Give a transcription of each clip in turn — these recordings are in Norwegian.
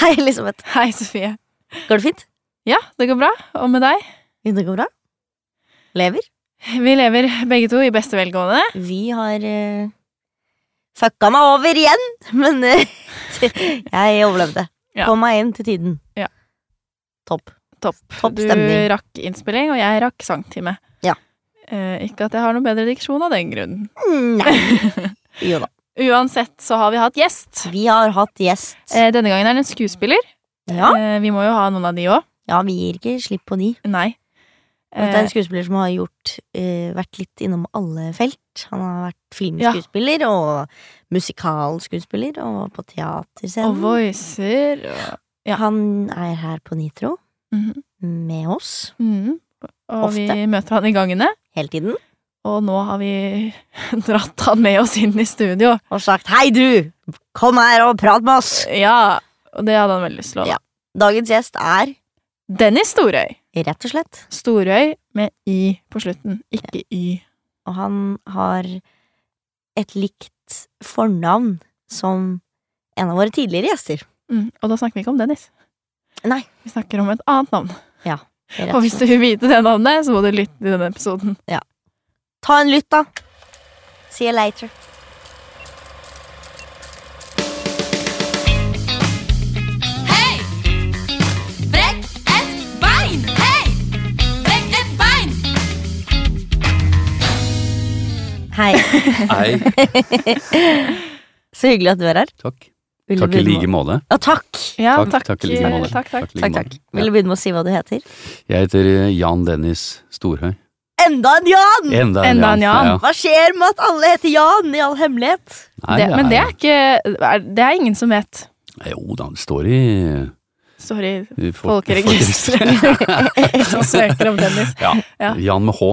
Hei, Elisabeth. Hei, Sofie. Går det fint? Ja, det går bra. Og med deg? Det går bra. Lever. Vi lever begge to i beste velgående. Vi har eh, fucka meg over igjen, men eh, jeg overlevde. Ja. Kom meg inn til tiden. Ja. Topp. Topp. Topp du stemning. rakk innspilling, og jeg rakk sangtime. Ja. Eh, ikke at jeg har noe bedre diksjon av den grunnen. Nei. Jo da. Uansett så har vi hatt gjest. Vi har hatt gjest. Eh, denne gangen er det en skuespiller. Ja, Eh, vi må jo ha noen av de òg. ja vi gir ikke slipp på de. Nei. Dette er Eh, en skuespiller som har gjort, eh, vært litt innom alle felt. Han har vært Ja. filmskuespiller og musikalskuespiller og på teaterscenen. Eh, og voicer og ja. Han er her på Nitro Mhm. med oss Mhm. Og vi Ofte. møter han i gangene. hele tiden. Og nå har vi dratt han med oss inn i studio. og sagt 'hei, du! Kom her og prat med oss'. Ja, og det hadde han veldig lyst til å ha. Ja. Dagens gjest er Dennis Storøy. rett og slett Storøy med i på slutten, ikke y. Og han har et likt fornavn som en av våre tidligere gjester. Mm. Og da snakker vi ikke om Dennis. Nei. Vi snakker om et annet navn. Rett Og og hvis slett. du vil vite det navnet, så må du lytte til denne episoden. Ta en lytt, da. See you later. Hei! Brekk et bein! Hei! Brekk et bein! Hei. Hei, Så hyggelig at du er her. takk. Vil du Takk i begynne like med- måte. Ja, takk. Ja, Takk, takk i like eh, måte. Takk, takk. i like Takk, takk. måte. Vil du begynne med å si hva du heter? Jeg heter eh, Jan Dennis Storhøy. Enda en Jan! Enda Enda en Jan. Ja. Hva skjer med at alle heter Jan, i all hemmelighet? Nei, Eh, det, men det er ikke er, Det er ingen som vet. Jo da, det står i Sorry, i folk- folkeregisteret som søker om Dennis. ja. Ja. Jan med H.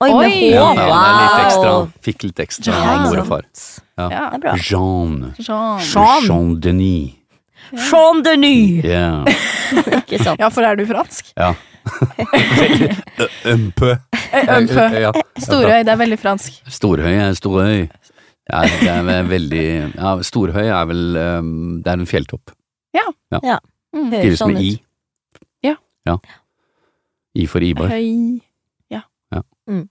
Oi, med Oi! H. Jan, ja, det er litt ekstra. Wow. Fikk litt ekstra Ja, av mor ikke og far. sant. Ja. Det er sånn. bra. Jean. Jean. Jean. Jean Denis. Sean Denis! Ja. Ikke sant. Ja, for er du fransk? ja. Ø- Ømpø. Ømpø. Ja, ja. Eh, Storøy, det er veldig fransk. Storhøy er Storhøy. Ja, det er vel veldig ja, Storhøy er vel eh, Det er en fjelltopp. Mm. Skrives sånn med I. ut. Ja. ja. I for Ibar. Høy Ja. Ja. Mm.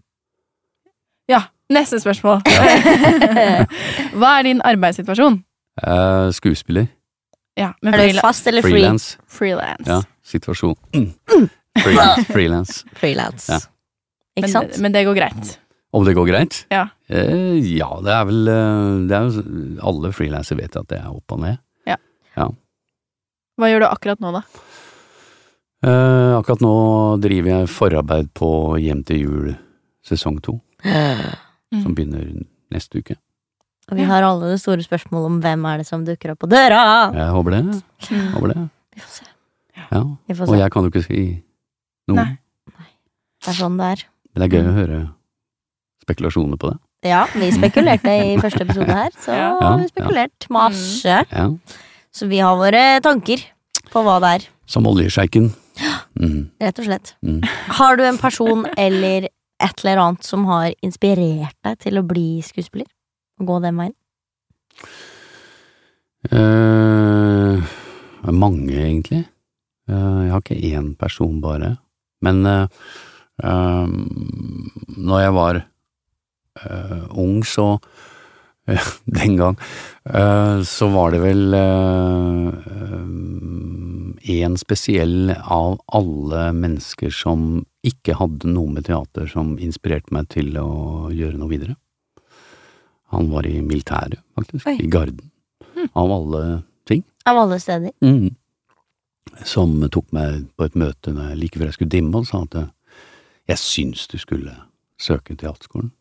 Ja, neste spørsmål. Hva er din arbeidssituasjon? Eh, skuespiller. Ja, men Er du frila fast eller free? Frilans. frilans. Ja, situasjon. Frilans. Frilans. Freelance. Ja. Ikke Men, sant? men det går greit. Om det går greit? Ja. Eh, ja, det er vel eh, det er jo, s- Alle frilansere vet at det er opp og ned. Hva gjør du akkurat nå, da? Eh, akkurat nå driver jeg forarbeid på Hjem til jul sesong to, som begynner neste uke. Og vi har alle det store spørsmålet om hvem er det som dukker opp på døra. Jeg håper det. Hm. Håper det. Vi får se. Ja. Vi får Og se. jeg kan jo ikke si noe, Nei. Det er sånn det er. men det er gøy å høre spekulasjoner på det. Ja, vi spekulerte i første episode her, så Ja. har vi spekulert masse. Ja. Så vi har våre tanker på hva det er, Som oljesjeiken. Mm. rett og slett. Mm. Har du en person eller et eller annet som har inspirert deg til å bli skuespiller? Og gå den veien? Eh, mange, egentlig. Eh, jeg har ikke én person, bare. Men eh, eh, når jeg var eh, ung, så Den gang. eh, så var det vel én spesiell av alle mennesker som ikke hadde noe med teater, som inspirerte meg til å gjøre noe videre. Han var i militæret, faktisk. Oi. I Garden av alle ting, Av alle steder. Mm. som tok meg på et møte når jeg, like før jeg skulle dimme, og sa at eh, jeg syns du skulle søke teaterskolen.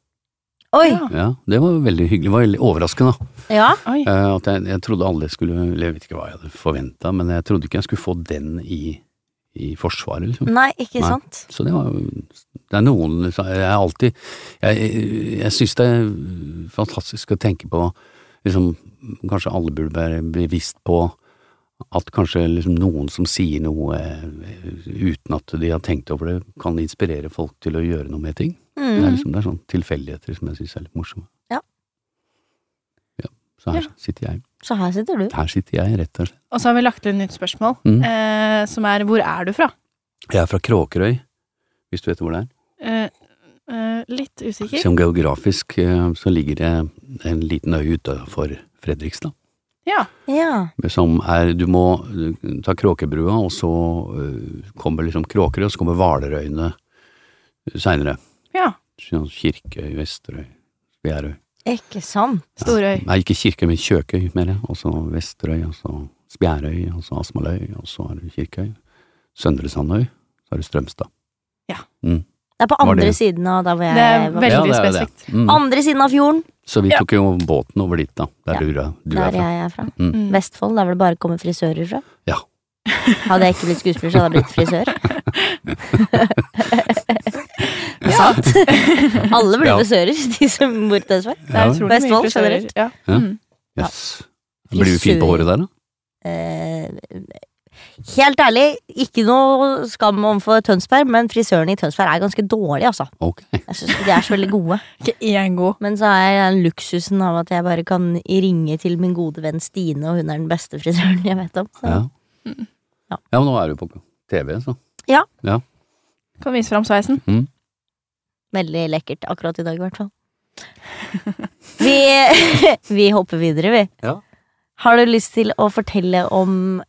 Oi! Ja. Ja, det var veldig hyggelig. Det var veldig overraskende. da. Ja. Oi. Eh, At jeg, jeg trodde alle skulle eller Jeg vet ikke hva jeg hadde forventa, men jeg trodde ikke jeg skulle få den i, i Forsvaret, liksom. Nei, ikke Nei. sant? Så det var jo Det er noen liksom, Jeg er alltid Jeg, jeg syns det er fantastisk å tenke på liksom, Kanskje alle burde være bevisst på at kanskje liksom noen som sier noe eh, uten at de har tenkt over det, kan inspirere folk til å gjøre noe med ting. Det er Mm. liksom det er sånn tilfeldigheter som jeg syns er litt morsomme. Ja. Ja, Så her sitter jeg. Så her sitter du. Her sitter jeg, rett og slett. Og så har vi lagt til et nytt spørsmål, Mm. eh, som er hvor er du fra? Jeg er fra Kråkerøy, hvis du vet hvor det er. Eh, eh, litt usikker. Som geografisk eh, så ligger det en liten øy utafor Fredrikstad. Ja. Ja. Som er, du må eh, ta Kråkebrua, og så eh, kommer liksom Kråkerøy, og så kommer Hvalerøyene seinere. ja. Sånn Kirkeøy, Vesterøy, Bjerøy. Ikke sant? Storøy. Nei, ikke Kirkeøy, men Kjøkøy, mer. Og så Vesterøy, og så Spjærøy, og så Asmaløy, og så er det Kirkeøy. Søndre Sandøy, så er det Strømstad. Det er på Var det- andre siden av der hvor jeg Det er vokste veldig opp. Ja, det er det. spesifikt. Mm. Andre siden av fjorden, Så vi Ja. tok jo båten over dit, da. Der Ja. du, er- du der er fra. jeg er fra. Mm. Vestfold, der hvor det bare kommer frisører fra. Ja. Hadde jeg ikke blitt skuespiller, så hadde jeg blitt frisør. Det er sant. Alle blir Ja. frisører, de som bor til Eidsberg. Det er Ja. utrolig Vestfold, mye frisører. generelt. Ja. Ja. Mm. Ja. Yes. Blir du fin på Frisør. håret der, da? Eh, helt ærlig, ikke noe skam overfor Tønsberg, men frisørene i Tønsberg er ganske dårlige, altså. Ok. Jeg synes ikke de er så veldig gode. Ikke én god. Men så er jeg den luksusen av at jeg bare kan ringe til min gode venn Stine, og hun er den beste frisøren jeg vet om. Så. Ja. Mm. Ja. ja, men nå er du på TV, så. Kan vise fram sveisen. Veldig lekkert akkurat i dag, i hvert fall. Vi, vi hopper videre, vi. Ja. Har du lyst til å fortelle om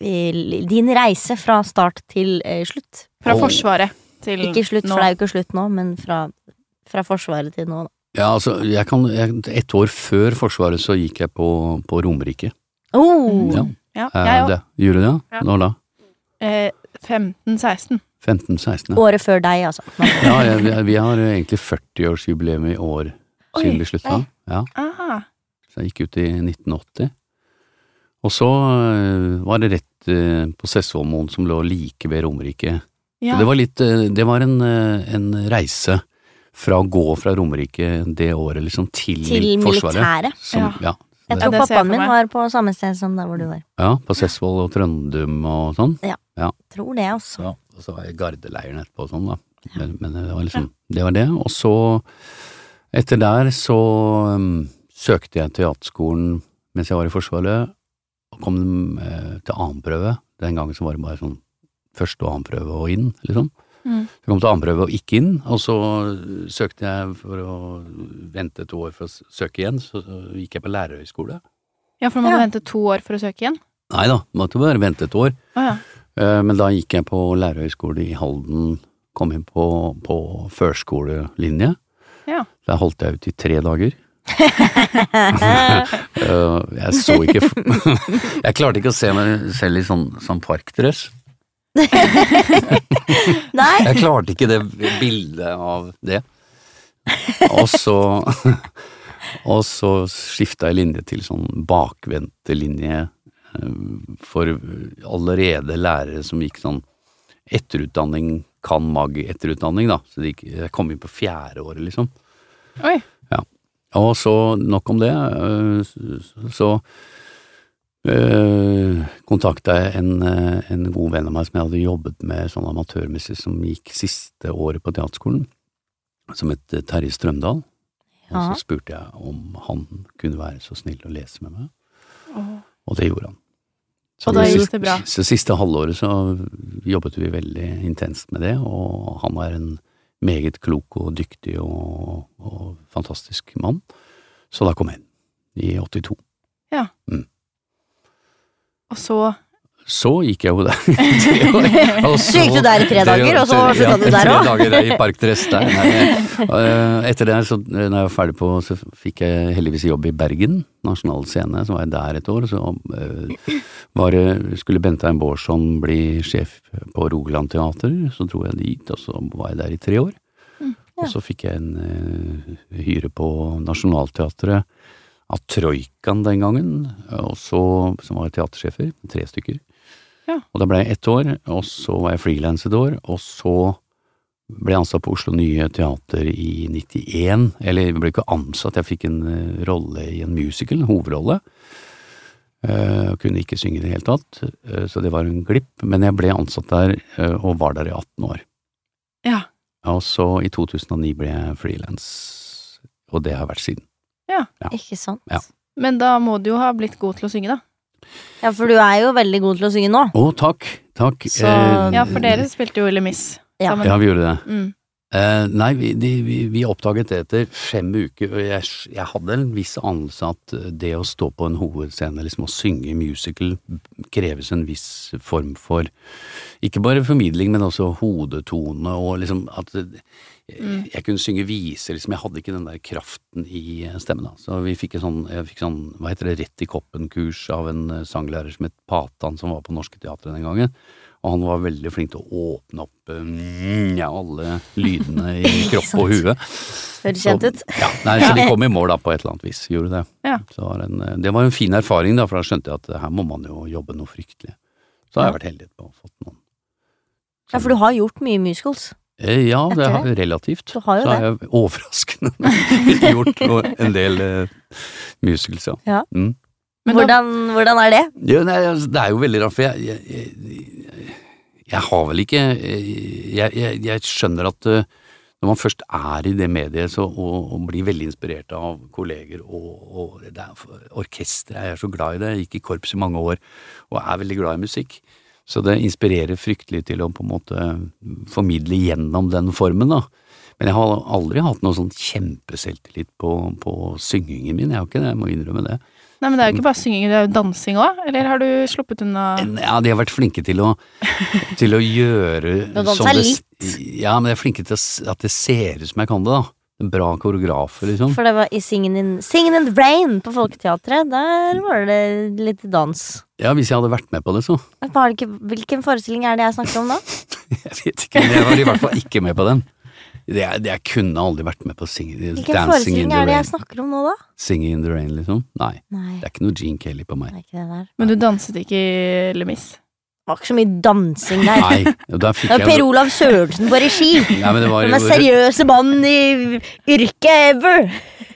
eh, din reise fra start til eh, slutt? Fra Åh. Forsvaret til Ikke slutt, Mm, nå. for det er jo ikke slutt nå, men fra, fra Forsvaret til nå. da. Ja, altså, jeg kan jeg, Ett år før Forsvaret så gikk jeg på, på Romerike. Oh, Ja. Mm. Ja, Eh, jeg òg. det. Gjorde du det? Ja. Når da? Eh, 15-16. 15-16? Ja, Året før deg, altså. Nei. ja jeg, vi- vi har egentlig 40-årsjubileum i år siden Oi, vi slutta. oi. Ja, Ah, så jeg gikk ut i 1980. Og så eh, var det rett eh, på Sessvollmoen som lå like ved Romerike. ja. Så det var litt eh, Det var en, eh, en reise fra å gå fra Romerike det året liksom til, Til Forsvaret. militæret. Som, ja. Jeg det- tror Det ser pappaen jeg for min meg. var på samme sted som der hvor du var. ja, på Sessvoll og Trøndum og sånn. Tror det, altså. Ja, og så var jeg i gardeleiren etterpå og sånn, da. Men, men det var liksom Det var det. Og så, etter der, så um, søkte jeg teaterskolen mens jeg var i Forsvaret, og kom eh, til annenprøve. Den gangen så var det bare sånn første og annenprøve og inn, liksom. Mm. Så kom til annenprøve og ikke inn, og så eh, søkte jeg for å vente to år for å s- søke igjen, så så gikk jeg på lærerhøyskole. ja, for man må Ja. vente to år for å søke igjen. Nei da, måtte bare vente et år. Å ja. Eh, Men da gikk jeg på lærerhøyskole i Halden, kom inn på, på førskolelinje. Ja. Der holdt jeg ut i tre dager. Eh, jeg så ikke f- Jeg klarte ikke å se meg selv i sånn, sånn parkdress. Nei, Jeg klarte ikke det bildet av det. Og så Og så skifta jeg linje til sånn bakvendtelinje eh, for allerede lærere som gikk sånn etterutdanning, kan mag.-etterutdanning, da. Så det gikk, jeg kom inn på fjerde året, liksom. Oi. Og så nok om det. eh, s- Så eh, kontakta jeg en, eh, en god venn av meg som jeg hadde jobbet med sånn amatørmessig, som gikk siste året på teaterskolen, som het eh, Terje Strømdal. Og Ja. så spurte jeg om han kunne være så snill å lese med meg, Åh. og det gjorde han. Og da gikk siste- det bra. Så siste halvåret så jobbet vi veldig intenst med det, og han er en meget klok og dyktig og, og fantastisk mann. Så da kom jeg inn, i 82. Og så Så gikk jeg jo der i tre år. og Så gikk du der i tre dager, og så tre- slutta du der Ja, også. tre dager i parkdress der. Nei, eh, etter det, så, når jeg var ferdig på, så fikk jeg heldigvis jobb i Bergen, Nasjonal Scene. Så var jeg der et år, og så eh, var det, skulle Bentheim Bårdsson bli sjef på Rogaland Teater. Så dro jeg dit, og så var jeg der i tre år. Mm, Og så fikk jeg en eh, hyre på Nationaltheatret av Troikaen den gangen, og så, som var teatersjefer, tre stykker. Ja. Og da ble jeg ett år, og så var jeg frilans et år, og så ble jeg ansatt på Oslo Nye Teater i 91, eller jeg ble ikke ansatt, jeg fikk en eh, rolle i en musical, en hovedrolle. Eh, og kunne ikke synge i det hele tatt, eh, så det var en glipp, men jeg ble ansatt der eh, og var der i 18 år. Ja. Og så i 2009 ble jeg frilans, og det har jeg vært siden. ikke sant. Ja. Men da må du jo ha blitt god til å synge, da. Ja, for du er jo veldig god til å synge nå. Å, takk, takk. Så- Eh, Ja, for dere spilte jo Les Mis Ja. sammen. Ja, vi gjorde det. Mm. Eh, nei, vi, de, vi, vi oppdaget det etter fem uker, og jeg, jeg hadde en viss anelse at eh, det å stå på en hovedscene, liksom å synge musical, kreves en viss form for ikke bare formidling, men også hodetone og liksom at det- jeg, jeg kunne synge viser, liksom. Jeg hadde ikke den der kraften i eh, stemmen, da. Så vi fikk en sånn, jeg fikk sånn, hva heter det, rett i koppen-kurs av en eh, sanglærer som het Patan, som var på Norske Teatret den gangen. Og han var veldig flink til å åpne opp eh, mm, ja, alle lydene i kropp og hue. Høres kjent ut. Så, ja, nei, så de kom i mål da, på et eller annet vis. Gjorde det. Ja. Så det var en, eh, det var jo en fin erfaring, da, for da skjønte jeg at eh, her må man jo jobbe noe fryktelig. Så har jeg vært heldig på å ha fått noen. Ja, for du har gjort mye musicals. Eh, Ja, det Etter har, relativt. Du har jo så har jeg overraskende gjort noe- en del eh, musicals, ja. Men da, Hvordan, hvordan er det? Ja, nei, altså, det er jo veldig rart, for jeg Jeg, jeg, jeg har vel ikke jeg, jeg, jeg skjønner at eh, når man først er i det mediet så, og, og blir veldig inspirert av kolleger og, og det er for- orkester Jeg er så glad i det. Jeg gikk i korps i mange år og er veldig glad i musikk. Så det inspirerer fryktelig til å på en måte formidle gjennom den formen, da. Men jeg har aldri hatt noe sånn kjempeselvtillit på, på syngingen min. Jeg har ikke det, jeg må innrømme det. nei, men det er jo ikke bare synging, det er jo dansing òg. Eller har du sluppet unna Ja, de har vært flinke til å, til å gjøre har gått som seg det s- Ja, men de er flinke til å s- at det ser ut som jeg kan det, da. En bra koreograf, liksom. For det var i Singin' in, Singin in the Rain på Folketeatret. Der var det litt dans. Ja, hvis jeg hadde vært med på det, så. Var det ikke, hvilken forestilling er det jeg snakker om nå? Jeg vet ikke, men jeg var i hvert fall ikke med på den. Det, jeg, jeg kunne aldri vært med på sing, Hvilken Dancing in forestilling the er det altså? Rain. jeg snakker om nå, da? Singing in the Rain, liksom. Nei, Nei, det er ikke noe Gene Kelly på meg. det er ikke det der. Men du danset ikke i Les Mis? Det var ikke så mye dansing der. Nei, og da fikk Det var Per jeg Olav Sørensen på regi. Nei, men det var, Den mest jo, seriøse mannen i yrket ever.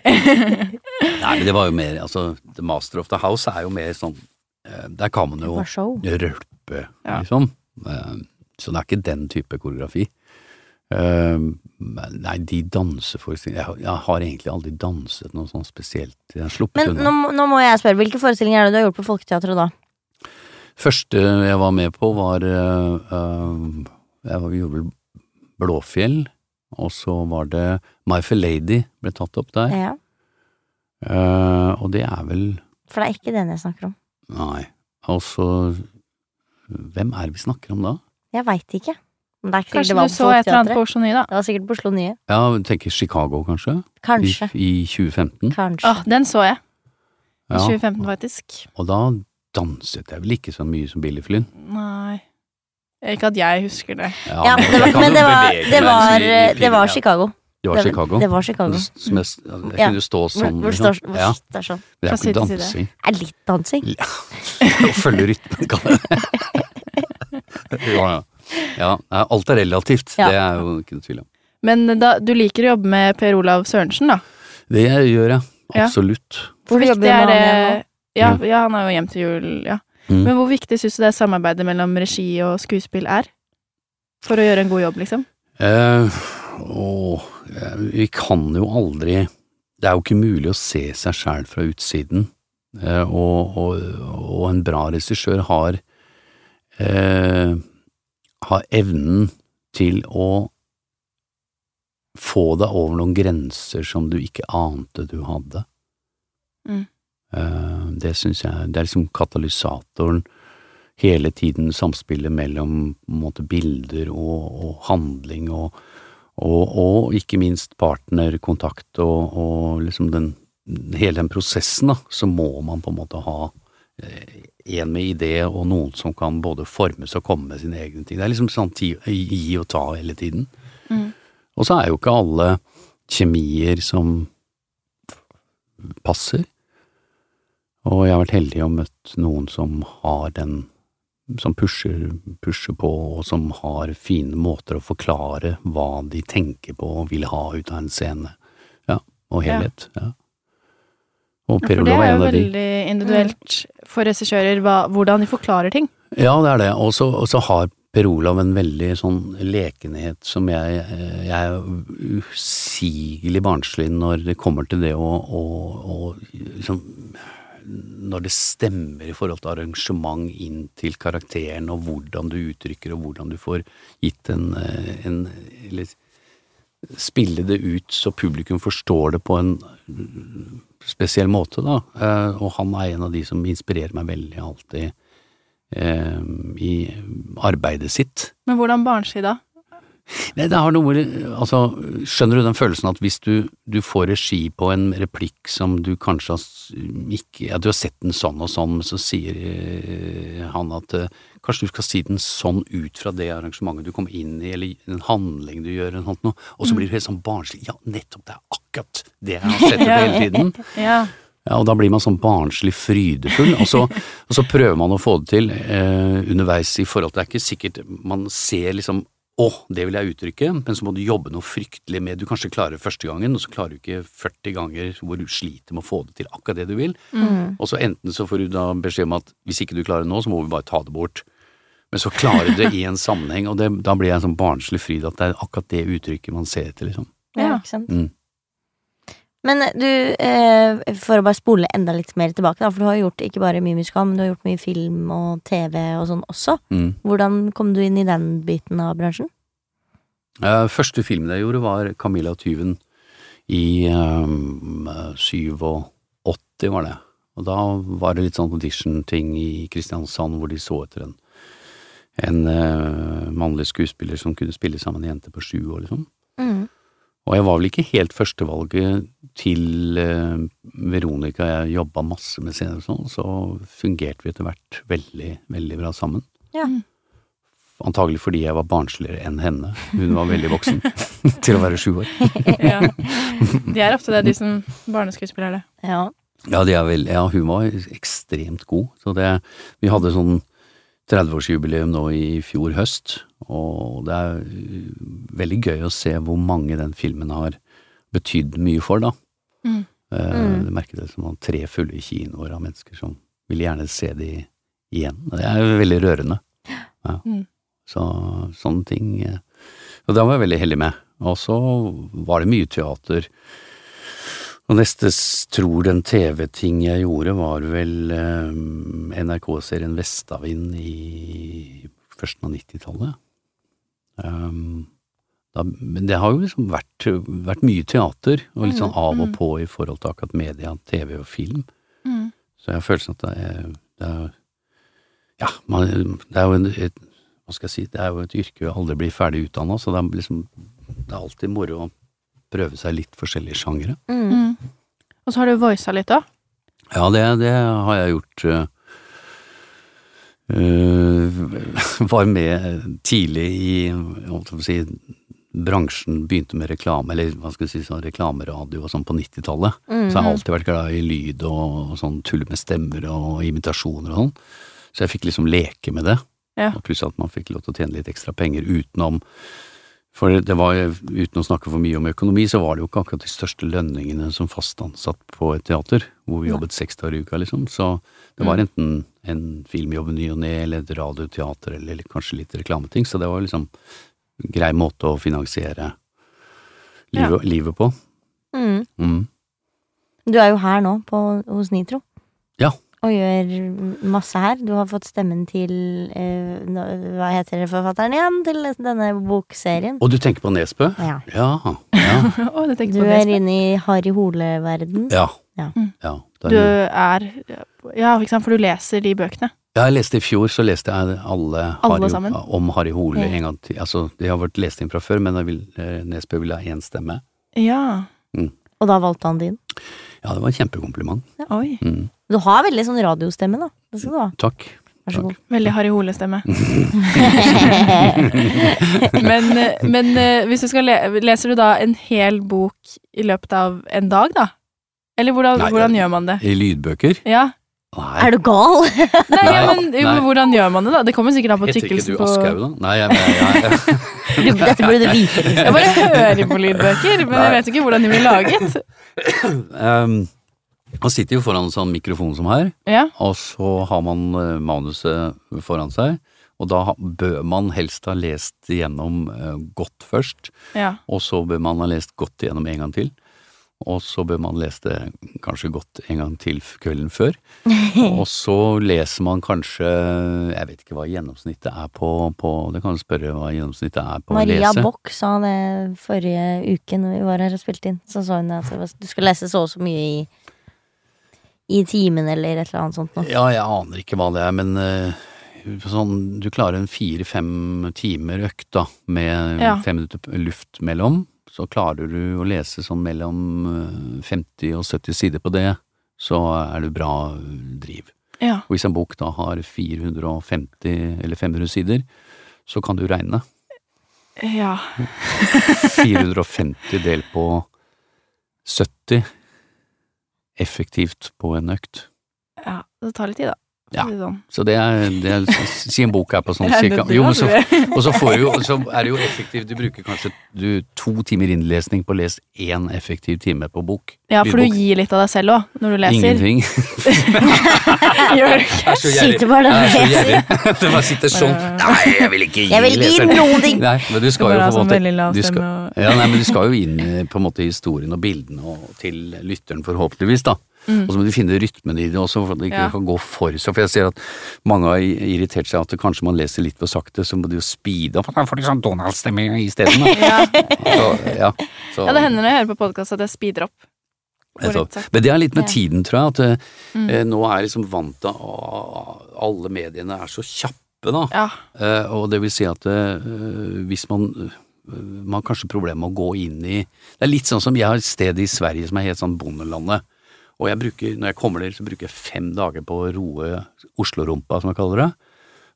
nei, men det var jo mer Altså, The Master of the House er jo mer sånn eh, Der kan man jo Det var show. rølpe, Ja. liksom. Eh, Så det er ikke den type koreografi. Eh, men Nei, de danseforestillingene jeg, har- jeg har egentlig aldri danset noe sånn spesielt. Jeg har sluppet Men nå, unna. må- nå må jeg spørre, hvilke forestillinger er det du har gjort på Folketeatret da? Første jeg var med på, var eh, eh, Jeg var- vi gjorde vel Blåfjell. Og så var det My Fair Lady ble tatt opp der. Ja, Eh, og det er vel for det er ikke den jeg snakker om. Nei. Og så Hvem er det vi snakker om da? Jeg veit ikke. Men det er ikke sikkert det Kanskje var du på så et eller annet Folketeatret. på Oslo Nye, da. Det var sikkert på Oslo Nye. Ja, tenker Chicago, kanskje? Kanskje. I, i 2015. Kanskje. Åh, Ah, den så jeg. I Ja. 2015, faktisk. Og da danset jeg vel ikke så mye som Billy Flynn. Nei Ikke at jeg husker det. Ja, det var, men det var, det var, eh, det var Chicago. Det var Chicago. Det var Chicago. Det- som jeg, jeg Ja. kunne jo stå Hvor, sånn. hvor det står, liksom. hvor ja, det er sånn. men det Fra er side ikke til side. dansing. Er litt dansing. Å følge rytmen, kan jeg. ja, ja. ja, nei, alt er relativt. Ja. Det er jo ikke noe tvil om. Men da, du liker å jobbe med Per Olav Sørensen, da? Det gjør jeg. Ja. Absolutt. Hvor Viktig jobber er man det- igjen nå? Ja, Mm. ja, han er jo hjem til jul, ja. Mm. Men hvor viktig syns du det samarbeidet mellom regi og skuespill er? For å gjøre en god jobb, liksom? Eh, og eh, vi kan jo aldri Det er jo ikke mulig å se seg sjæl fra utsiden. Eh, og, og, og en bra regissør har eh, har evnen til å få deg over noen grenser som du ikke ante du hadde. Mm. Eh, det syns jeg Det er liksom katalysatoren. Hele tiden samspillet mellom på en måte, bilder og, og handling og, og, og ikke minst partnerkontakt og, og liksom den Hele den prosessen, da, så må man på en måte ha en med idé og noen som kan både formes og komme med sine egne ting. Det er liksom sånn ti, gi og ta hele tiden. Mm. Og så er jo ikke alle kjemier som passer. Og jeg har vært heldig og møtt noen som har den som pusher, pusher på, og som har fine måter å forklare hva de tenker på og vil ha ut av en scene. Ja, og Ja. helhet. Ja. Og For Per det Olav er er jo en av de. veldig individuelt for regissører hva, hvordan de forklarer ting. Ja, det er det. Og så og så har Per Olav en veldig sånn lekenhet som jeg eh, Jeg er usigelig barnslig når det kommer til det å, å, å liksom Når det stemmer i forhold til arrangement inn til karakteren, og hvordan du uttrykker, og hvordan du får gitt en, eh, en Eller spille det ut så publikum forstår det på en spesiell måte, da. Eh, Og han er en av de som inspirerer meg veldig alltid eh, i arbeidet sitt. Men hvordan barnslig da? Nei, det har noe Altså, skjønner du den følelsen at hvis du, du får regi på en replikk som du kanskje har s- ikke Ja, du har sett den sånn og sånn, men så sier eh, han at eh, kanskje du skal si den sånn ut fra det arrangementet du kom inn i, eller en handling du gjør, eller noe sånt noe, og så blir du helt sånn barnslig. Ja, nettopp, det er akkurat det jeg har sett på hele tiden. Ja. Ja, og da blir man sånn barnslig frydefull, og så, og så prøver man å få det til eh, underveis i forhold til Det er ikke sikkert man ser liksom å, det vil jeg uttrykke, men så må du jobbe noe fryktelig med Du kanskje klarer det første gangen, og så klarer du ikke 40 ganger hvor du sliter med å få det til akkurat det du vil. mm. Mm. Og så enten så får du da beskjed om at hvis ikke du klarer det nå, så må vi bare ta det bort. Men så klarer du det i en sammenheng, og det, da blir jeg sånn barnslig fryd at det er akkurat det uttrykket man ser etter, liksom. Ja. ikke sant? Mm. Men du, eh, for å bare spole enda litt mer tilbake, da, for du har jo gjort ikke bare mye musikal, men du har gjort mye film og TV og sånn også. Mm. Hvordan kom du inn i den biten av bransjen? Eh, første filmen jeg gjorde var Camilla og tyven i um, 87 var det. Og da var det litt sånn audition-ting i Kristiansand hvor de så etter en, en eh, mannlig skuespiller som kunne spille sammen med en jente på sju år, liksom. Og jeg var vel ikke helt førstevalget til eh, Veronica, jeg jobba masse med scener og sånn, så fungerte vi etter hvert veldig, veldig bra sammen. Ja. Antagelig fordi jeg var barnsligere enn henne. Hun var veldig voksen til å være sju år. ja. De er ofte det, de som barneskuespillere. Ja. Ja, det er vel, ja, hun var ekstremt god. Så det, vi hadde sånn 30-årsjubileum nå i fjor høst, og det er uh, veldig gøy å se hvor mange den filmen har betydd mye for, da. Mm. Eh, Mm. Du merket det som var tre fulle kinoer av mennesker som ville gjerne se de igjen. Og Det er veldig rørende. Ja. Mm. Så sånne ting eh, Og det var jeg veldig heldig med. Og så var det mye teater. Og neste s- tror den TV-ting jeg gjorde, var vel eh, NRK-serien Vestavind i førsten av 90-tallet. Um, da, men det har jo liksom vært, vært mye teater, og litt sånn av og på i forhold til akkurat media, TV og film. Mm. Så jeg har følelsen at det er, det er Ja, man, det er jo en, et, hva skal jeg si, det er jo et yrke jeg aldri blir ferdig utdanna, så det er liksom Det er alltid moro å prøve seg litt forskjellige sjangere. Mm. Mm. Og så har du voisa litt òg. Ja, det, det har jeg gjort. øh, øh, var med tidlig i jeg holdt på å si, bransjen, begynte med reklame, eller hva skal jeg si, sånn reklameradio og sånn på 90-tallet. Mm. Så Mhm. jeg har alltid vært glad i lyd og, og sånn tulle med stemmer og imitasjoner og sånn. Så jeg fikk liksom leke med det. Ja. Og pluss at man fikk lov til å tjene litt ekstra penger utenom For det var, uten å snakke for mye om økonomi, så var det jo ikke akkurat de største lønningene som fast ansatt på et teater, hvor vi jobbet seks dager i uka, liksom. Så det Mm. var enten en filmjobb i ny og ne, eller et radioteater, eller kanskje litt reklameting. Så det var liksom en grei måte å finansiere Ja. livet, livet på. Mm. Mm. Du er jo her nå, på, hos Nitro. Ja. Og gjør masse her. Du har fått stemmen til eh, nå- Hva heter forfatteren igjen? Til denne bokserien. Og du tenker på Nesbø? Ja. Ja. Ja. Å, det tenkte Du jeg på er Nesbø. inne i Harry Hole-verden. ja. Mm. Ja. ja. Da- Du er Ja, ikke sant, for du leser de bøkene. Ja, jeg leste i fjor, så leste jeg alle, Alle sammen? om Harry Hole Ja. en gang til. Altså, de har vært lest inn fra før, men jeg vil, eh, Nesbø ville ha én stemme. Ja. Og da valgte han din. Ja, det var en kjempekompliment. Oi. Mm. Du har veldig sånn radiostemme, da. Det skal du ha. Takk. Vær så god. Veldig Harry Hole-stemme. men eh, men eh, hvis du skal le leser du da en hel bok i løpet av en dag, da? Eller hvordan, Nei, hvordan jeg- gjør man det? I lydbøker? Ja. Nei. Er du gal? Nei, ja, Nei, men, jo, nei. men hvordan gjør man det, da? Det kommer sikkert an på Heter ikke tykkelsen du på Aschehoug, da? Nei, jeg, jeg, jeg, Du- Dette burde du vite. liksom. Jeg bare hører på lydbøker, men Nei. jeg vet ikke hvordan de blir laget. Ehm, Man sitter jo foran en sånn mikrofon som her, Ja. og så har man eh, manuset foran seg, Og da ha- bør man helst ha lest gjennom eh, godt først, Ja. og så bør man ha lest godt gjennom en gang til. Og så bør man lese det kanskje godt en gang til f- kvelden før. Og så leser man kanskje Jeg vet ikke hva gjennomsnittet er på, på Det kan du spørre hva gjennomsnittet er på å Maria lese. Bock sa det forrige uke når vi var her og spilte inn. Så sa hun at det var- du skal lese så og så mye i, i timen eller et eller annet sånt noe. Ja, jeg aner ikke hva det er, men eh, sånn, du klarer en fire-fem timer økt da, med Ja. fem minutter p- luft mellom. Så klarer du å lese sånn mellom eh, 50 og 70 sider på det, så er det bra eh, driv. ja. Og hvis en bok da har 450 eller 500 sider, så kan du regne. ja. 450 delt på 70 effektivt på en økt. ja. Det tar litt tid, da. For Ja. å si det Sånn. Så det er, det er Si en bok er på sånn Regnet cirka du Jo, men at så det- Og så, får du, jo- så er det jo effektivt, du bruker kanskje du, to timer innlesning på å lese én effektiv time på bok. ja, for du Lydbok. gir litt av deg selv òg, når du leser. Ingenting. Gjør du ikke? Jeg er så gjerrig. Sitter bare der og Jeg er så leser. gjerrig. Du bare sitter sånn. Nei, jeg vil ikke gi Jeg vil ikke gi leseren. noen ting! Nei, men du skal jo Bare på ha en sånn veldig måte lav du skal, stemme og- ja, nei, men du skal jo inn eh, på en måte i historien og bildene og til lytteren forhåpentligvis da. Og så må du finne rytmen i det også, for at det Mm. Ja. ikke kan gå for seg. For jeg ser at mange har irritert seg at det kanskje man leser litt for sakte, så må du jo speede opp. Da får du sånn Donald-stemme i stedet. da. Så, ja, så, Ja, det hender når jeg hører på podkast at jeg speeder opp. Går Altså, litt sakte. men det er litt med Ja. tiden, tror jeg. At eh, Mm. eh, nå er jeg liksom vant til at alle mediene er så kjappe, da. Ja. Eh, og det vil si at eh, hvis man eh, Man har kanskje problemer med å gå inn i Det er litt sånn som jeg har et sted i Sverige som er helt sånn bondelandet. Og jeg bruker, når jeg kommer der, så bruker jeg fem dager på å roe Oslo-rumpa, som jeg kaller det.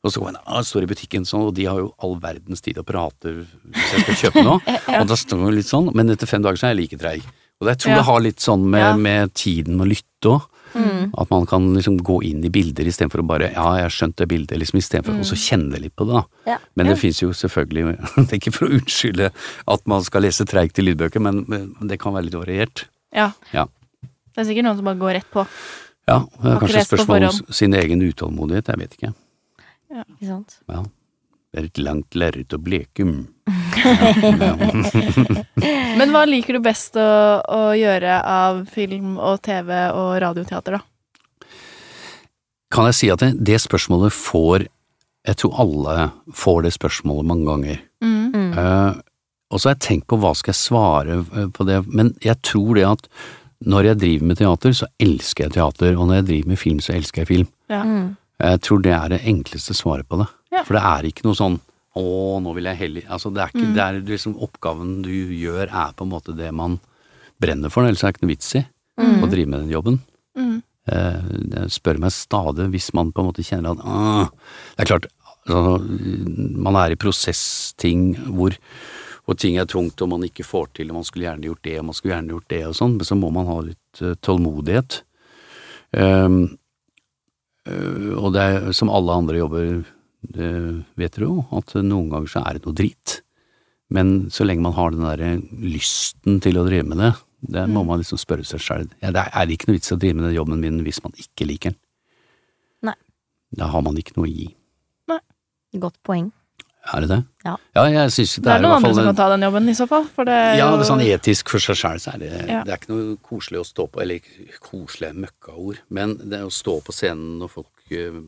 Og så går jeg, ah, står i butikken sånn, og de har jo all verdens tid og prater hvis jeg skal kjøpe noe. Og da står jeg litt sånn, men etter fem dager så er jeg like treig. Og jeg tror Ja. det har litt sånn med, Ja. med tiden å lytte òg. Mm. At man kan liksom gå inn i bilder istedenfor å bare Ja, jeg har skjønt det bildet, liksom Mm. istedenfor å kjenne litt på det, da. Ja. Men det fins jo selvfølgelig Det er ikke for å unnskylde at man skal lese treigt i lydbøker, men men det kan være litt variert. ja. Ja. Det er sikkert noen som bare går rett på. ja det Har er ikke kanskje et lest på spørsmål om sin egen utålmodighet, jeg vet ikke. Ikke sant? Ja. Det er et langt lerret å bleke. mm. Men hva liker du best å, å gjøre av film og TV og radioteater, da? Kan jeg si at det, det spørsmålet får Jeg tror alle får det spørsmålet mange ganger. Mm, Mm. Eh, og så har jeg tenkt på hva skal jeg svare eh, på det, men jeg tror det at når jeg driver med teater, så elsker jeg teater, og når jeg driver med film, så elsker jeg film. Ja. Jeg tror det er det enkleste svaret på det. Ja. For det er ikke noe sånn å, nå vil jeg heller Altså, det er ikke det er liksom Oppgaven du gjør, er på en måte det man brenner for, ellers er det ikke noe vits i å drive med den jobben. Mm. Eh, Jeg spør meg stadig hvis man på en måte kjenner at «Åh». Det er klart, altså, man er i prosessting hvor, hvor ting er tungt og man ikke får til, og man skulle gjerne gjort det, og man skulle gjerne gjort det og sånn, men så må man ha litt eh, tålmodighet. Ehm, øh, og det er som alle andre jobber, det vet dere jo, at noen ganger så er det noe drit. Men så lenge man har den der lysten til å drive med det, det må Mm. man liksom spørre seg sjøl. Ja, det er ikke noe vits å drive med den jobben min hvis man ikke liker den. Nei. Da har man ikke noe å gi. Godt poeng. Er det det? Ja. jeg synes Det er i noen hvert andre fall som en- kan ta den jobben, i så fall. For det er Ja, jo- det er sånn etisk for seg sjæl, så er det, Ja. det er ikke noe koselig å stå på Eller ikke koselig er møkkaord, men det er å stå på scenen når folk øh,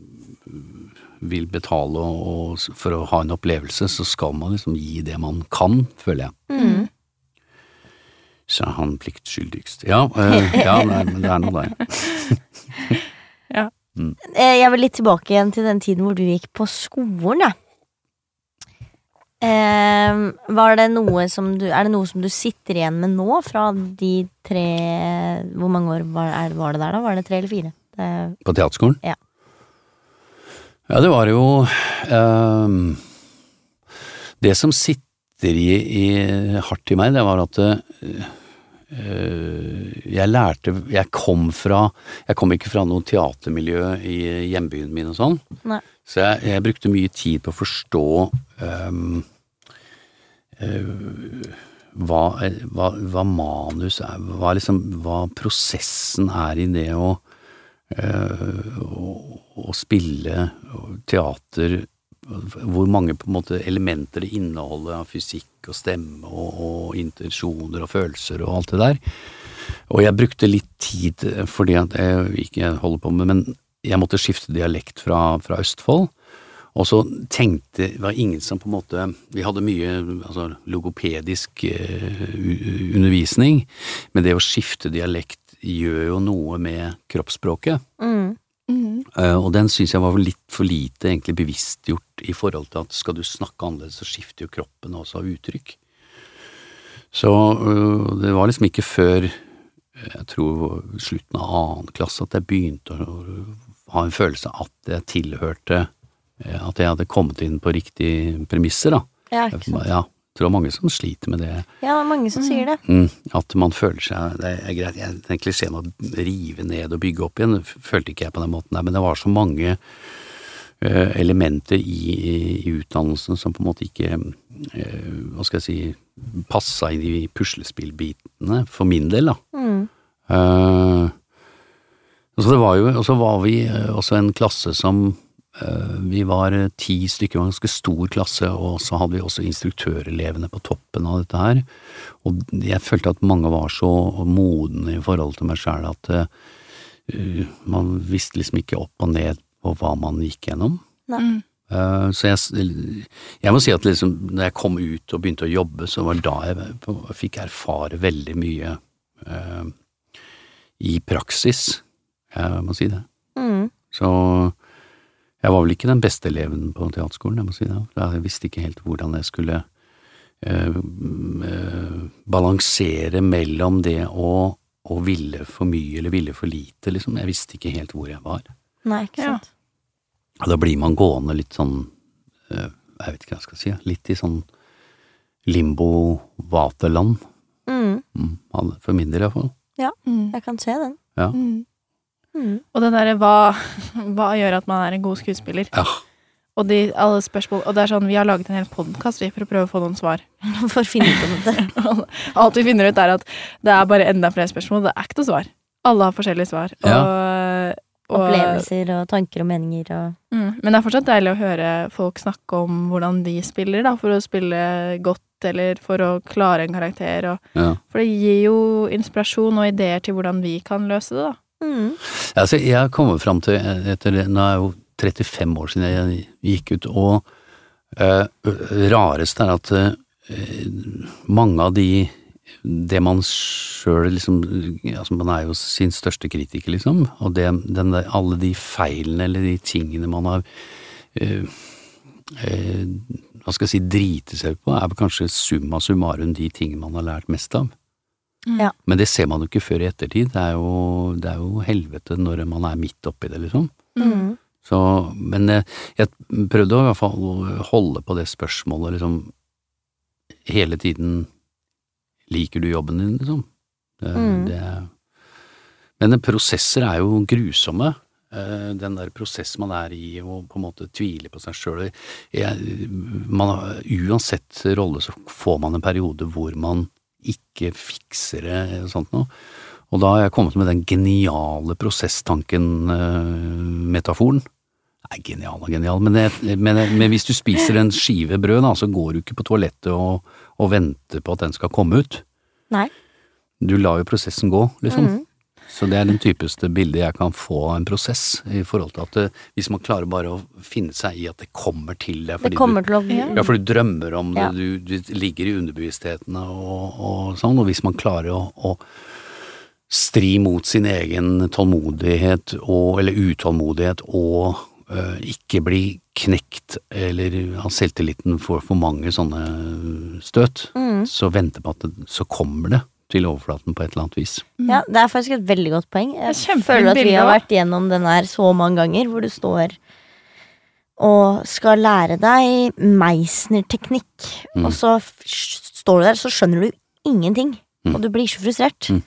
vil betale og, og s- for å ha en opplevelse, så skal man liksom gi det man kan, føler jeg. Mm. Så er han pliktskyldigst. Ja, øh, ja nei, men det er noe der. Eh, Jeg vil litt tilbake igjen til den tiden hvor du gikk på skolen, jeg. Eh, var det noe som du, er det noe som du sitter igjen med nå fra de tre Hvor mange år var, er, var det der, da? Var det tre eller fire? Det, På teaterskolen? Ja. Ja, det var jo ehm, Det som sitter i, i, hardt i meg, det var at eh, eh, jeg lærte Jeg kom fra Jeg kom ikke fra noe teatermiljø i hjembyen min og sånn. nei. Så jeg, jeg brukte mye tid på å forstå ehm, eh, hva, eh, hva, hva manus er, hva, liksom, hva prosessen er i det å, eh, å, å spille teater hvor mange på en måte elementer det inneholder av fysikk og stemme og, og intensjoner og følelser og alt det der. Og jeg brukte litt tid, eh, fordi at jeg ikke holder på med, men jeg måtte skifte dialekt fra, fra Østfold. Og så tenkte Det var ingen som på en måte Vi hadde mye altså, logopedisk eh, u- undervisning, men det å skifte dialekt gjør jo noe med kroppsspråket. Mm. Mm. Eh, Og den syns jeg var vel litt for lite egentlig bevisstgjort i forhold til at skal du snakke annerledes, så skifter jo kroppen også av uttrykk. Så øh, det var liksom ikke før eh, jeg tror slutten av annen klasse at jeg begynte å å ha en følelse av at jeg tilhørte eh, At jeg hadde kommet inn på riktige premisser, da. Ja, Jeg, ikke sant? ja, tror det er mange som sliter med det. ja, det er mange som sier det. Mm, at man føler seg Det er greit, jeg, den klisjeen å rive ned og bygge opp igjen, f- følte ikke jeg på den måten der, men det var så mange eh, elementer i, i, i utdannelsen som på en måte ikke eh, Hva skal jeg si Passa inn i puslespillbitene, for min del, da. Mm. Eh, og så det var jo, og så var vi eh, også en klasse som eh, Vi var eh, ti stykker, det var en ganske stor klasse, og så hadde vi også instruktørelevene på toppen av dette her. Og jeg følte at mange var så modne i forhold til meg sjæl at eh, eh, man visste liksom ikke opp og ned på hva man gikk gjennom. Mm. Eh, Så jeg, s- jeg må si at liksom, når jeg kom ut og begynte å jobbe, så var det da jeg på- fikk erfare veldig mye eh, i praksis. Jeg må si det. Mm. Så jeg var vel ikke den beste eleven på teaterskolen, jeg må si det. Jeg visste ikke helt hvordan jeg skulle eh, mm, eh, balansere mellom det å, å ville for mye eller ville for lite, liksom. Jeg visste ikke helt hvor jeg var. Nei, ikke Ja. sant. Og da blir man gående litt sånn eh, Jeg vet ikke hva jeg skal si. ja, Litt i sånn limbo-vaterland. Mm. Mm, alle- For min del, iallfall. Mm. Jeg kan se den. Mm. Mm. Og den derre hva, hva gjør at man er en god skuespiller? Ja. Og, de, alle spørsmål, og det er sånn, vi har laget en hel podkast for å prøve å få noen svar. For å finne ut om dette. Alt vi finner ut, er at det er bare enda flere spørsmål. Det er ikke noe svar. Alle har forskjellige svar. Og, og, Opplevelser og tanker og meninger og Mm, men det er fortsatt deilig å høre folk snakke om hvordan de spiller, da, for å spille godt eller for å klare en karakter. Og, ja. for det gir jo inspirasjon og ideer til hvordan vi kan løse det, da. mm. Altså, jeg har kommet fram til eh, etter, det- Nå er jeg jo 35 år siden jeg gikk ut, og eh, ø- rarest er at eh, mange av de Det man sjøl liksom altså Man er jo sin største kritiker, liksom. Og det, den der, alle de feilene eller de tingene man har eh, eh, Hva skal jeg si driti seg ut på, er vel kanskje summa summarum de tingene man har lært mest av. Ja. Men det ser man jo ikke før i ettertid. Det er jo, det er jo helvete når man er midt oppi det, liksom. Mm. Så, men jeg, jeg prøvde å i hvert fall å holde på det spørsmålet liksom hele tiden Liker du jobben din, liksom? Det, Mm. det, men det- prosesser er jo grusomme. Eh, Den der prosessen man er i, og på en måte tviler på seg sjøl Uansett rolle så får man en periode hvor man ikke fikser det og sånt noe. Og da har jeg kommet med den geniale eh, prosesstanken-metaforen. Nei, genial og genial, men, det, men, men hvis du spiser en skive brød, da, så går du ikke på toalettet og, og venter på at den skal komme ut. Nei. Du lar jo prosessen gå, liksom. Mm. Så det er den typeste bildet jeg kan få av en prosess, i forhold til at det, hvis man klarer bare å finne seg i at det kommer til deg Det fordi du kommer til å Ja. ja, for du drømmer om det, Ja. du, du ligger i underbevisstheten og, og sånn, og hvis man klarer å, å stri mot sin egen tålmodighet og, eller utålmodighet og øh, ikke bli knekt eller ha selvtilliten for for mange sånne støt, Mm. så venter på at det, så kommer det til overflaten på et eller annet vis. Ja, Det er faktisk et veldig godt poeng. Jeg Mm. Det er kjempefint føler at vi har bilde, vært gjennom den her så mange ganger, hvor du står og skal lære deg Meisner-teknikk, Mm. og så f- står du der, så skjønner du ingenting, Mm. og du blir så frustrert. Mm.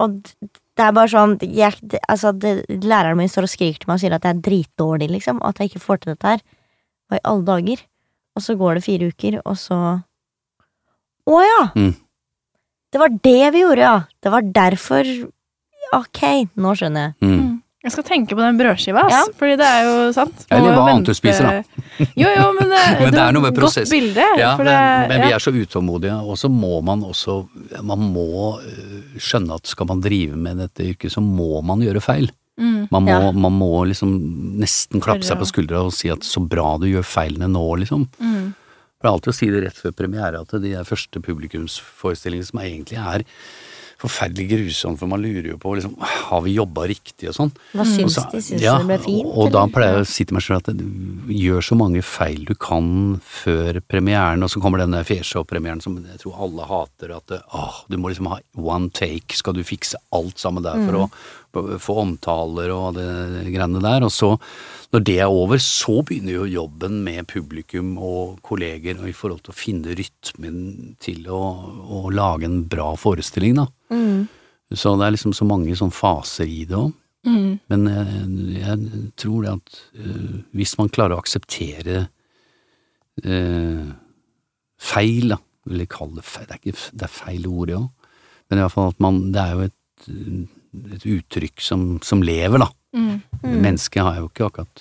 Og d- det er bare sånn jeg, det, altså, det, Læreren min står og skriker til meg og sier at jeg er dritdårlig, liksom, og at jeg ikke får til dette her. Og i alle dager. Og så går det fire uker, og så Å ja! Mm. Det var det vi gjorde, ja! Det var derfor Ok, nå skjønner jeg. Mm. Mm. Jeg skal tenke på den brødskiva, ass. Fordi det er jo sant. Må Eller hva jo annet du vente- spiser, da. Jo, jo, men, Men det er noe med prosess. Godt bilde. Ja, for men, det- men vi ja. er så utålmodige, og så må man også Man må øh, skjønne at skal man drive med dette yrket, så må man gjøre feil. Mm. Man må, Ja. man må liksom nesten klappe seg Tørre på skuldra og si at så bra du gjør feilene nå, liksom. Mm. For det er alltid å si det rett før premiere at de er første publikumsforestillingene som egentlig er forferdelig grusomme, for man lurer jo på liksom, har vi jobba riktig og sånn. Hva syns Og så- de? Syns ja, de det ble fint? Og, og da eller? pleier jeg å si til meg selv at du gjør så mange feil du kan før premieren, og så kommer denne Fesjå-premieren som jeg tror alle hater, at det- åh, du må liksom ha one take, skal du fikse alt sammen der Mm. for å få omtaler og det greiene der, og så når det er over, så begynner jo jobben med publikum og kolleger og i forhold til å finne rytmen til å, å lage en bra forestilling, da. Mm. Så det er liksom så mange sånn faser i det òg. Mm. Men jeg, jeg tror det at øh, hvis man klarer å akseptere øh, feil, da, eller kalle det feil, det er, ikke, det er feil ord, ja, men i hvert fall at man, det er jo et, øh, et uttrykk som, som lever, da. Mm. Mennesket har jo ikke akkurat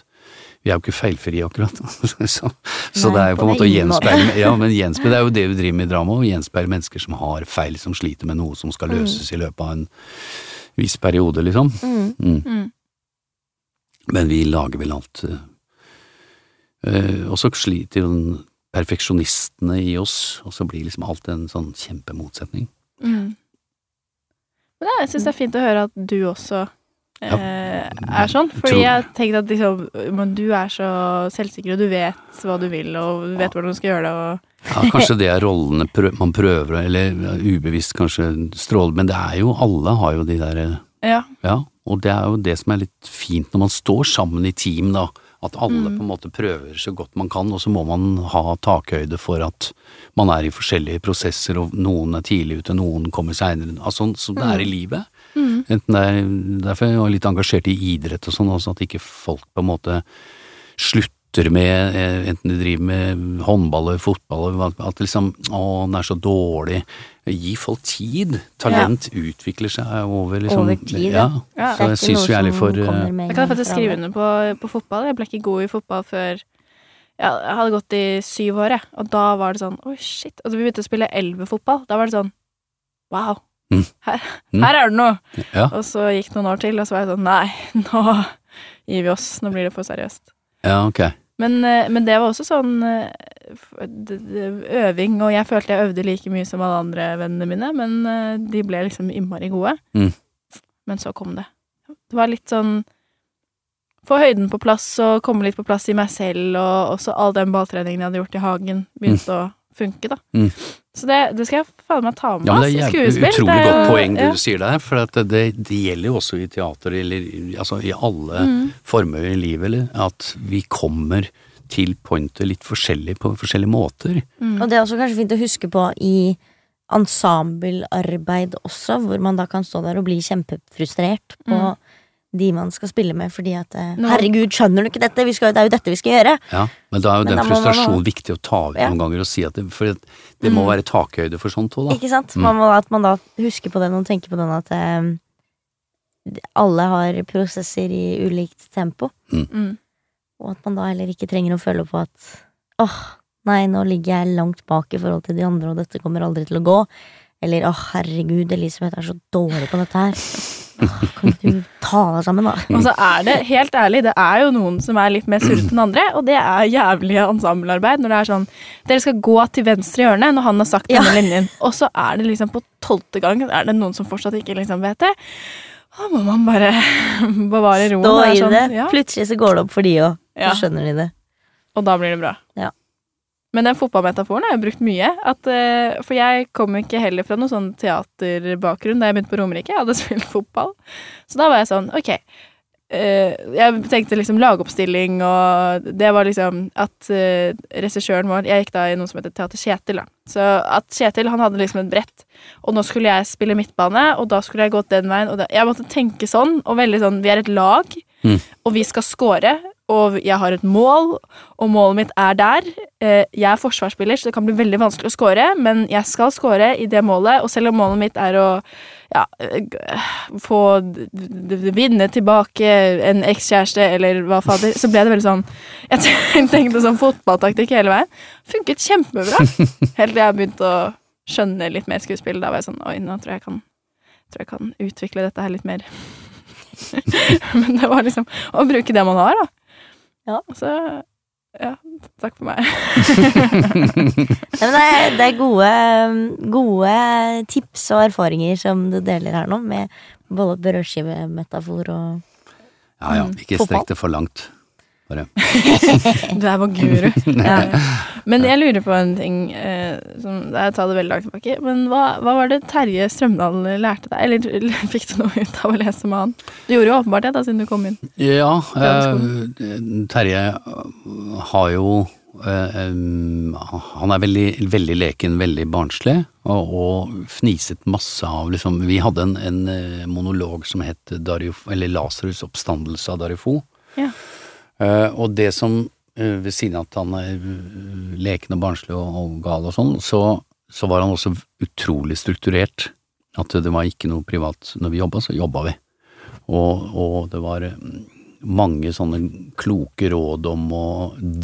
Vi er jo ikke feilfrie, akkurat. så så Nei, det er jo på en på måte å ingen måte. gjenspeile ja, men gjenspeile, Det er jo det vi driver med i drama, å gjenspeile mennesker som har feil, som sliter med noe som skal løses i løpet av en viss periode, liksom. Mm. Mm. Mm. Men vi lager vel alt eh, eh, Og så sliter jo den perfeksjonistene i oss, og så blir liksom alt en sånn kjempemotsetning. Mm. Men ja, jeg syns det er fint å høre at du også eh, Ja. er sånn. Jeg Fordi tror- jeg tenkte at liksom, men du er så selvsikker, og du vet hva du vil, og du vet hvordan du skal gjøre det. Og, Ja, kanskje det er rollene prø man prøver, å- eller ja, ubevisst kanskje stråler, men det er jo alle har jo de der eh, ja. Ja, og det er jo det som er litt fint når man står sammen i team, da. At alle Mm. på en måte prøver så godt man kan, og så må man ha takhøyde for at man er i forskjellige prosesser, og noen er tidlig ute, noen kommer seinere. Altså, sånn som det er i livet. Mm. Enten det er, derfor er jeg jo litt engasjert i idrett og sånn, også at ikke folk på en måte slutter med, eh, enten de driver med håndball eller fotball, eller hva- at liksom å, den er så dårlig. Gi folk tid. Talent utvikler seg over liksom Over tid, ja. ja. Ja. Så jeg Det er ikke syns vi noe er litt som for kommer eh, med Jeg kan en gang faktisk fra skrive det. under på, på fotball. Jeg ble ikke god i fotball før ja, jeg hadde gått i syv år, jeg. Og da var det sånn Oi, shit. Og da vi begynte å spille elvefotball, da var det sånn Wow. Mm. Her, Mm. her er det noe! Ja. Og så gikk det noen år til, og så var jeg sånn Nei, nå gir vi oss. Nå blir det for seriøst. Ja, ok. Men, eh, men det var også sånn eh, f- d- d- øving, og jeg følte jeg øvde like mye som alle andre vennene mine, men eh, de ble liksom innmari gode. Mm. Men så kom det. Det var litt sånn Få høyden på plass og komme litt på plass i meg selv, og også all den balltreningen jeg hadde gjort i hagen, begynte å funke, da. Mm. Så det, det skal jeg faen meg ta med Ja, meg. men det er altså, jævlig skuespill. utrolig det er godt jo- poeng det ja. du sier der, for at det, det gjelder jo også i teater, eller i- altså i alle Mm. former i livet, eller, at vi kommer til pointet litt forskjellig på forskjellige måter. Mm. Og det er også kanskje fint å huske på i ensemblearbeid også, hvor man da kan stå der og bli kjempefrustrert på Mm. de man skal spille med, fordi at eh, Nå- 'herregud, skjønner du ikke dette?' Vi skal, jo- det er jo dette vi skal gjøre. Ja, men da er jo Men den da må man ha- frustrasjonen viktig å ta ut Ja. Mm. noen ganger og si at det, for det, det må være takhøyde for sånt òg, da. Ikke sant? Mm. Man må, at man da husker på den og tenker på den at eh, alle har prosesser i ulikt tempo, Mm. og at man da heller ikke trenger å føle på at 'åh, nei, nå ligger jeg langt bak i forhold til de andre, og dette kommer aldri til å gå'. Eller 'åh, herregud, Elisabeth er så dårlig på dette her'. Åh, kan ikke du ta deg sammen, da? Og så Altså, er det, helt ærlig, det er jo noen som er litt mer surrete enn andre, og det er jævlig ensemblearbeid når det er sånn Dere skal gå til venstre hjørne når han har sagt denne linjen, og så er det liksom på tolvte gang er det noen som fortsatt ikke liksom vet det. Da må man bare bevare roen. Stå er i sånn, det. Ja, Plutselig så går det opp for de òg. ja, Så skjønner de det. og da blir det bra. Ja. Men den fotballmetaforen har jeg brukt mye. At, eh, for jeg kom ikke heller fra noen sånn teaterbakgrunn da jeg begynte på Romerike. Jeg hadde spilt fotball. Så da var jeg sånn, ok. eh, jeg tenkte liksom lagoppstilling, og det var liksom at eh, regissøren vår Jeg gikk da i noe som heter Teater Kjetil, da. Så at Kjetil han hadde liksom et brett, og nå skulle jeg spille midtbane, og da skulle jeg gått den veien. Og da, jeg måtte tenke sånn, og veldig sånn Vi er et lag, Mm. og vi skal score. og jeg har et mål, og målet mitt er der. Eh, Jeg er forsvarsspiller, så det kan bli veldig vanskelig å score, men jeg skal score i det målet, og selv om målet mitt er å ja, eh, g- få d- d- d- vinne tilbake en ekskjæreste eller hva fader, så ble det veldig sånn Jeg ten- tenkte sånn fotballtaktikk hele veien. Funket kjempebra. Helt til jeg begynte å skjønne litt mer skuespill. Da var jeg sånn Oi, nå tror jeg jeg kan, tror jeg kan utvikle dette her litt mer. Men det var liksom å bruke det man har, da. Ja. Så ja, takk for meg. Ja, men det er, det er gode, gode tips og erfaringer som du deler her nå, med bolle- og brødskivemetafor og Ja ja, ikke Fotball. strekk det for langt. Bare. Du er vår guru. Men jeg lurer på en ting eh, som Jeg tar det veldig langt tilbake. Men hva, hva var det Terje Strømdal lærte deg? Eller fikk du noe ut av å lese med han? Du gjorde jo åpenbart det, da, siden du kom inn. Ja, Brannskolen. eh, Terje har jo eh, em, Han er veldig, veldig leken, veldig barnslig, og, og fniset masse av liksom Vi hadde en, en eh, monolog som het Darif, eller Lasarus' oppstandelse av Darifo. Ja. Eh, og det som eh, ved siden av at han er eh, leken og barnslig og, og gal og sånn, så, så var han også utrolig strukturert. At det var ikke noe privat. Når vi jobba, så jobba vi. Og, og det var eh, mange sånne kloke råd om å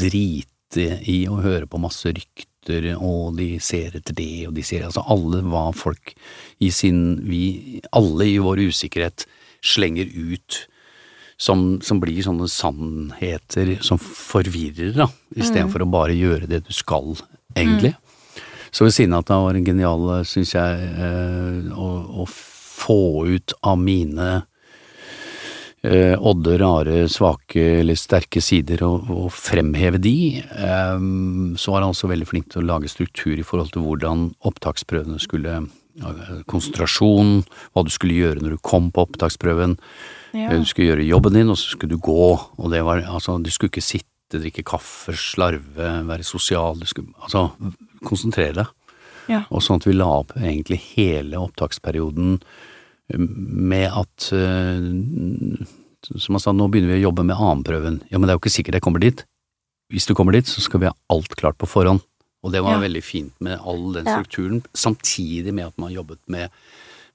drite i å høre på masse rykter, og de ser etter det, og de ser Altså, alle var folk i sin Vi, alle i vår usikkerhet, slenger ut som, som blir sånne sannheter som forvirrer, da, istedenfor for å bare gjøre det du skal, egentlig. Så ved siden av at det var en genial, syns jeg, eh, å, å få ut av mine eh, odde, rare, svake eller sterke sider og, og fremheve de. Ehm, så var han også veldig flink til å lage struktur i forhold til hvordan opptaksprøvene skulle eh, Konsentrasjon, hva du skulle gjøre når du kom på opptaksprøven. Eh, Du skulle gjøre jobben din, og så skulle du gå. Og det var, altså, du skulle ikke sitte, drikke kaffe, slarve, være sosial. Du skulle altså konsentrere deg. Ja. Og sånn at vi la opp egentlig hele opptaksperioden med at eh, Som han sa, nå begynner vi å jobbe med annenprøven. Ja, men det er jo ikke sikkert jeg kommer dit. Hvis du kommer dit, så skal vi ha alt klart på forhånd. Og det var Ja. veldig fint med all den Ja. strukturen, samtidig med at man jobbet med,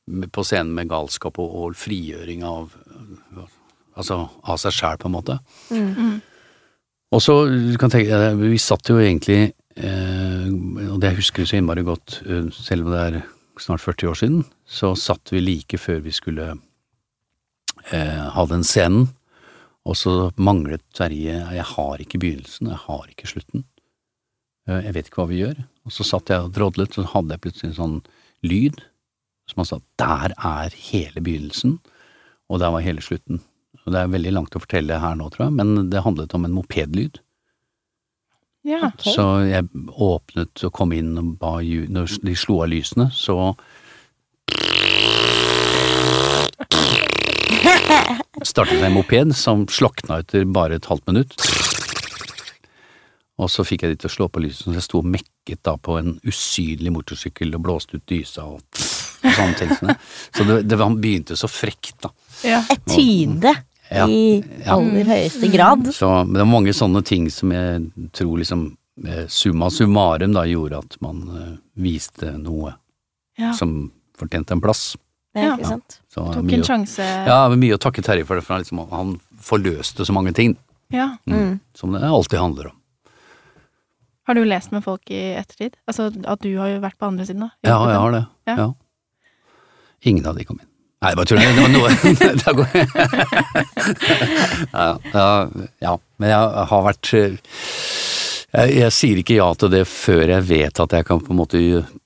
med på scenen med galskap og, og frigjøring av Altså av seg sjæl, på en måte. Og så du kan tenke, eh, vi satt jo egentlig, eh, og det jeg husker så innmari godt, eh, selv om det er snart 40 år siden, så satt vi like før vi skulle eh, ha den scenen, og så manglet Terje, jeg har ikke begynnelsen, jeg har ikke slutten, eh, jeg vet ikke hva vi gjør, og så satt jeg og drodlet, så hadde jeg plutselig en sånn lyd, som han sa, der er hele begynnelsen, og der var hele slutten. Og Det er veldig langt å fortelle her nå, tror jeg, men det handlet om en mopedlyd. Ja. Ok. Så jeg åpnet og kom inn og ba ju- Når de slo av lysene, så Startet en moped som slokna etter bare et halvt minutt. Og så fikk jeg de til å slå på lysene, så jeg sto og mekket da på en usynlig motorsykkel og blåste ut dysa og sånne ting. som det. Så det, det, var- han begynte så frekt, da. ja. etyde Mm. Ja, i ja. Mm. aller høyeste grad. Så men det er mange sånne ting som jeg tror liksom eh, summa summarum da gjorde at man eh, viste noe Ja. som fortjente en plass. Det er Ja. ikke sant? Så det er Tok mye, en sjanse. ja, det er mye å takke Terje for det, for han, liksom, han forløste så mange ting Ja. Mm. som det alltid handler om. Har du lest med folk i ettertid? Altså at du har jo vært på andre siden, da. Ja, jeg har det. Ja. Ja. Ingen av de kom inn. Nei, bare tuller. Det var noe Da går jeg. ja, ja, ja, men jeg har vært eh, jeg, jeg sier ikke ja til det før jeg vet at jeg kan på en måte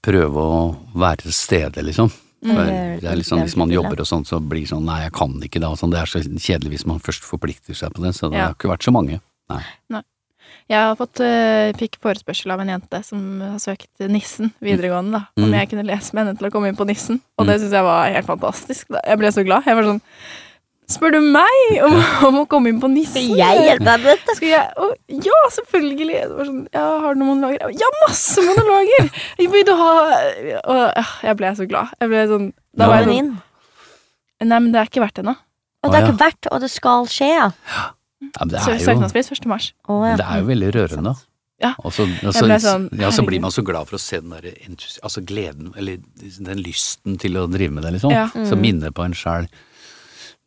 prøve å være til stede, liksom. For Mm. det er litt sånn, Hvis man jobber og sånn, så blir det sånn nei, jeg kan ikke da. og Sånn. Det er så kjedelig hvis man først forplikter seg på det, så det Ja. har ikke vært så mange. Nei. Jeg har fått, eh, fikk forespørsel av en jente som har søkt Nissen videregående, da. Om Mm. jeg kunne lese med henne til å komme inn på Nissen. Og det syns jeg var helt fantastisk. da. Jeg ble så glad. Jeg var sånn Spør du meg om, om å komme inn på Nissen? Skal jeg hjelpe deg med dette? Skal jeg? Å, ja, selvfølgelig! Det var sånn, ja, har du noen monologer? Ja, masse monologer! Jeg vil du ha og, ja, Jeg ble så glad. Jeg ble sånn, da Ja. var Kom jeg hun sånn inn. Nei, men det er ikke verdt det ennå. Og det har ikke vært, og det skal skje, ja. Ja, men det Sø- er jo, Søknadsfrist 1. mars. Å, ja. det er jo veldig rørende. Ja. Og så, og Jeg så, ble sånn, ja, så herregud. blir man så glad for å se den der entusi altså gleden, eller den lysten til å drive med det, liksom. Ja. Mm. Mm. Som minner på en sjæl.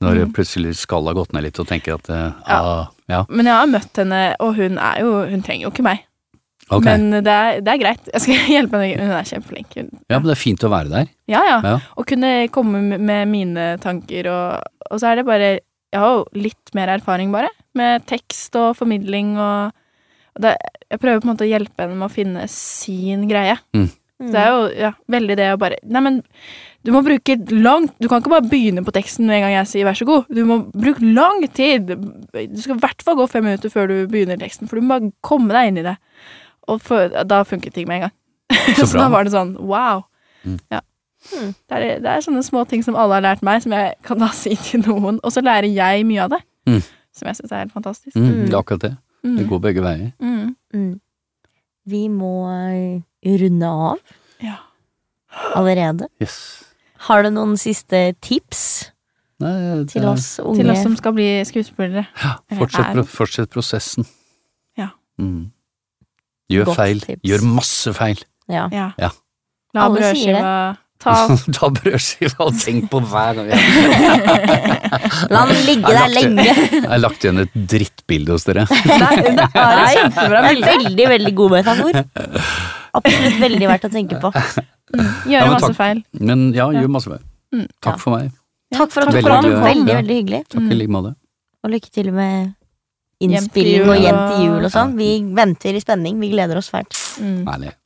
Når plutselig skallet har gått ned litt og tenker at eh, Ja. ah, ja, Men jeg har møtt henne, og hun er jo Hun trenger jo ikke meg. ok. Men det er, det er greit. Jeg skal hjelpe henne. Hun er kjempeflink. Hun, ja, men det er fint å være der. ja, ja. Ja. Å kunne komme m- med mine tanker og Og så er det bare Jeg har jo litt mer erfaring, bare, med tekst og formidling og og det, Jeg prøver på en måte å hjelpe henne med å finne sin greie. Mm. Så det er jo ja, veldig det å bare Nei, men du må bruke lang Du kan ikke bare begynne på teksten med en gang jeg sier 'vær så god'. Du må bruke lang tid. Du skal i hvert fall gå fem minutter før du begynner teksten, for du må bare komme deg inn i det. Og for, da funket ting med en gang. Så Så, da bra. var det sånn wow. Ja. Mm. Det, er, det er sånne små ting som alle har lært meg, som jeg kan da si til noen. Og så lærer jeg mye av det, Mm. som jeg syns er helt fantastisk. Mm, Mm. Det er akkurat det. Det Mm. går begge veier. Mm. Mm. Vi må eh, runde av Ja. allerede. Yes. Har du noen siste tips Nei, det til er- oss unge? Til oss som skal bli skuespillere. Ja, Eller fortsett, er- pro fortsett prosessen. Ja. Mm. Gjør Godt feil. tips. Gjør masse feil. Ja. Ja. Ja. La Alle sier det. brødskiva ta Ta brødskiva og tenk på hver gang. Jeg La den ligge Jeg der lagt igjen- lenge. jeg har lagt igjen et drittbilde hos dere. Nei, det er et kjempebra Det er bilde. veldig, veldig god metafor. Absolutt veldig verdt å tenke på. Ja, Gjøre men masse takk. feil. Men ja, gjør masse feil. Mm. Ja. Takk for meg. Ja, Takk for at du Veldig kom. hyggelig. Veldig, Ja. veldig hyggelig. Takk Mm. i like måte. Og lykke til med til innspilling jul og hjem og- til jul og sånn. Vi venter i spenning. Vi gleder oss fælt. Mm. Herlig.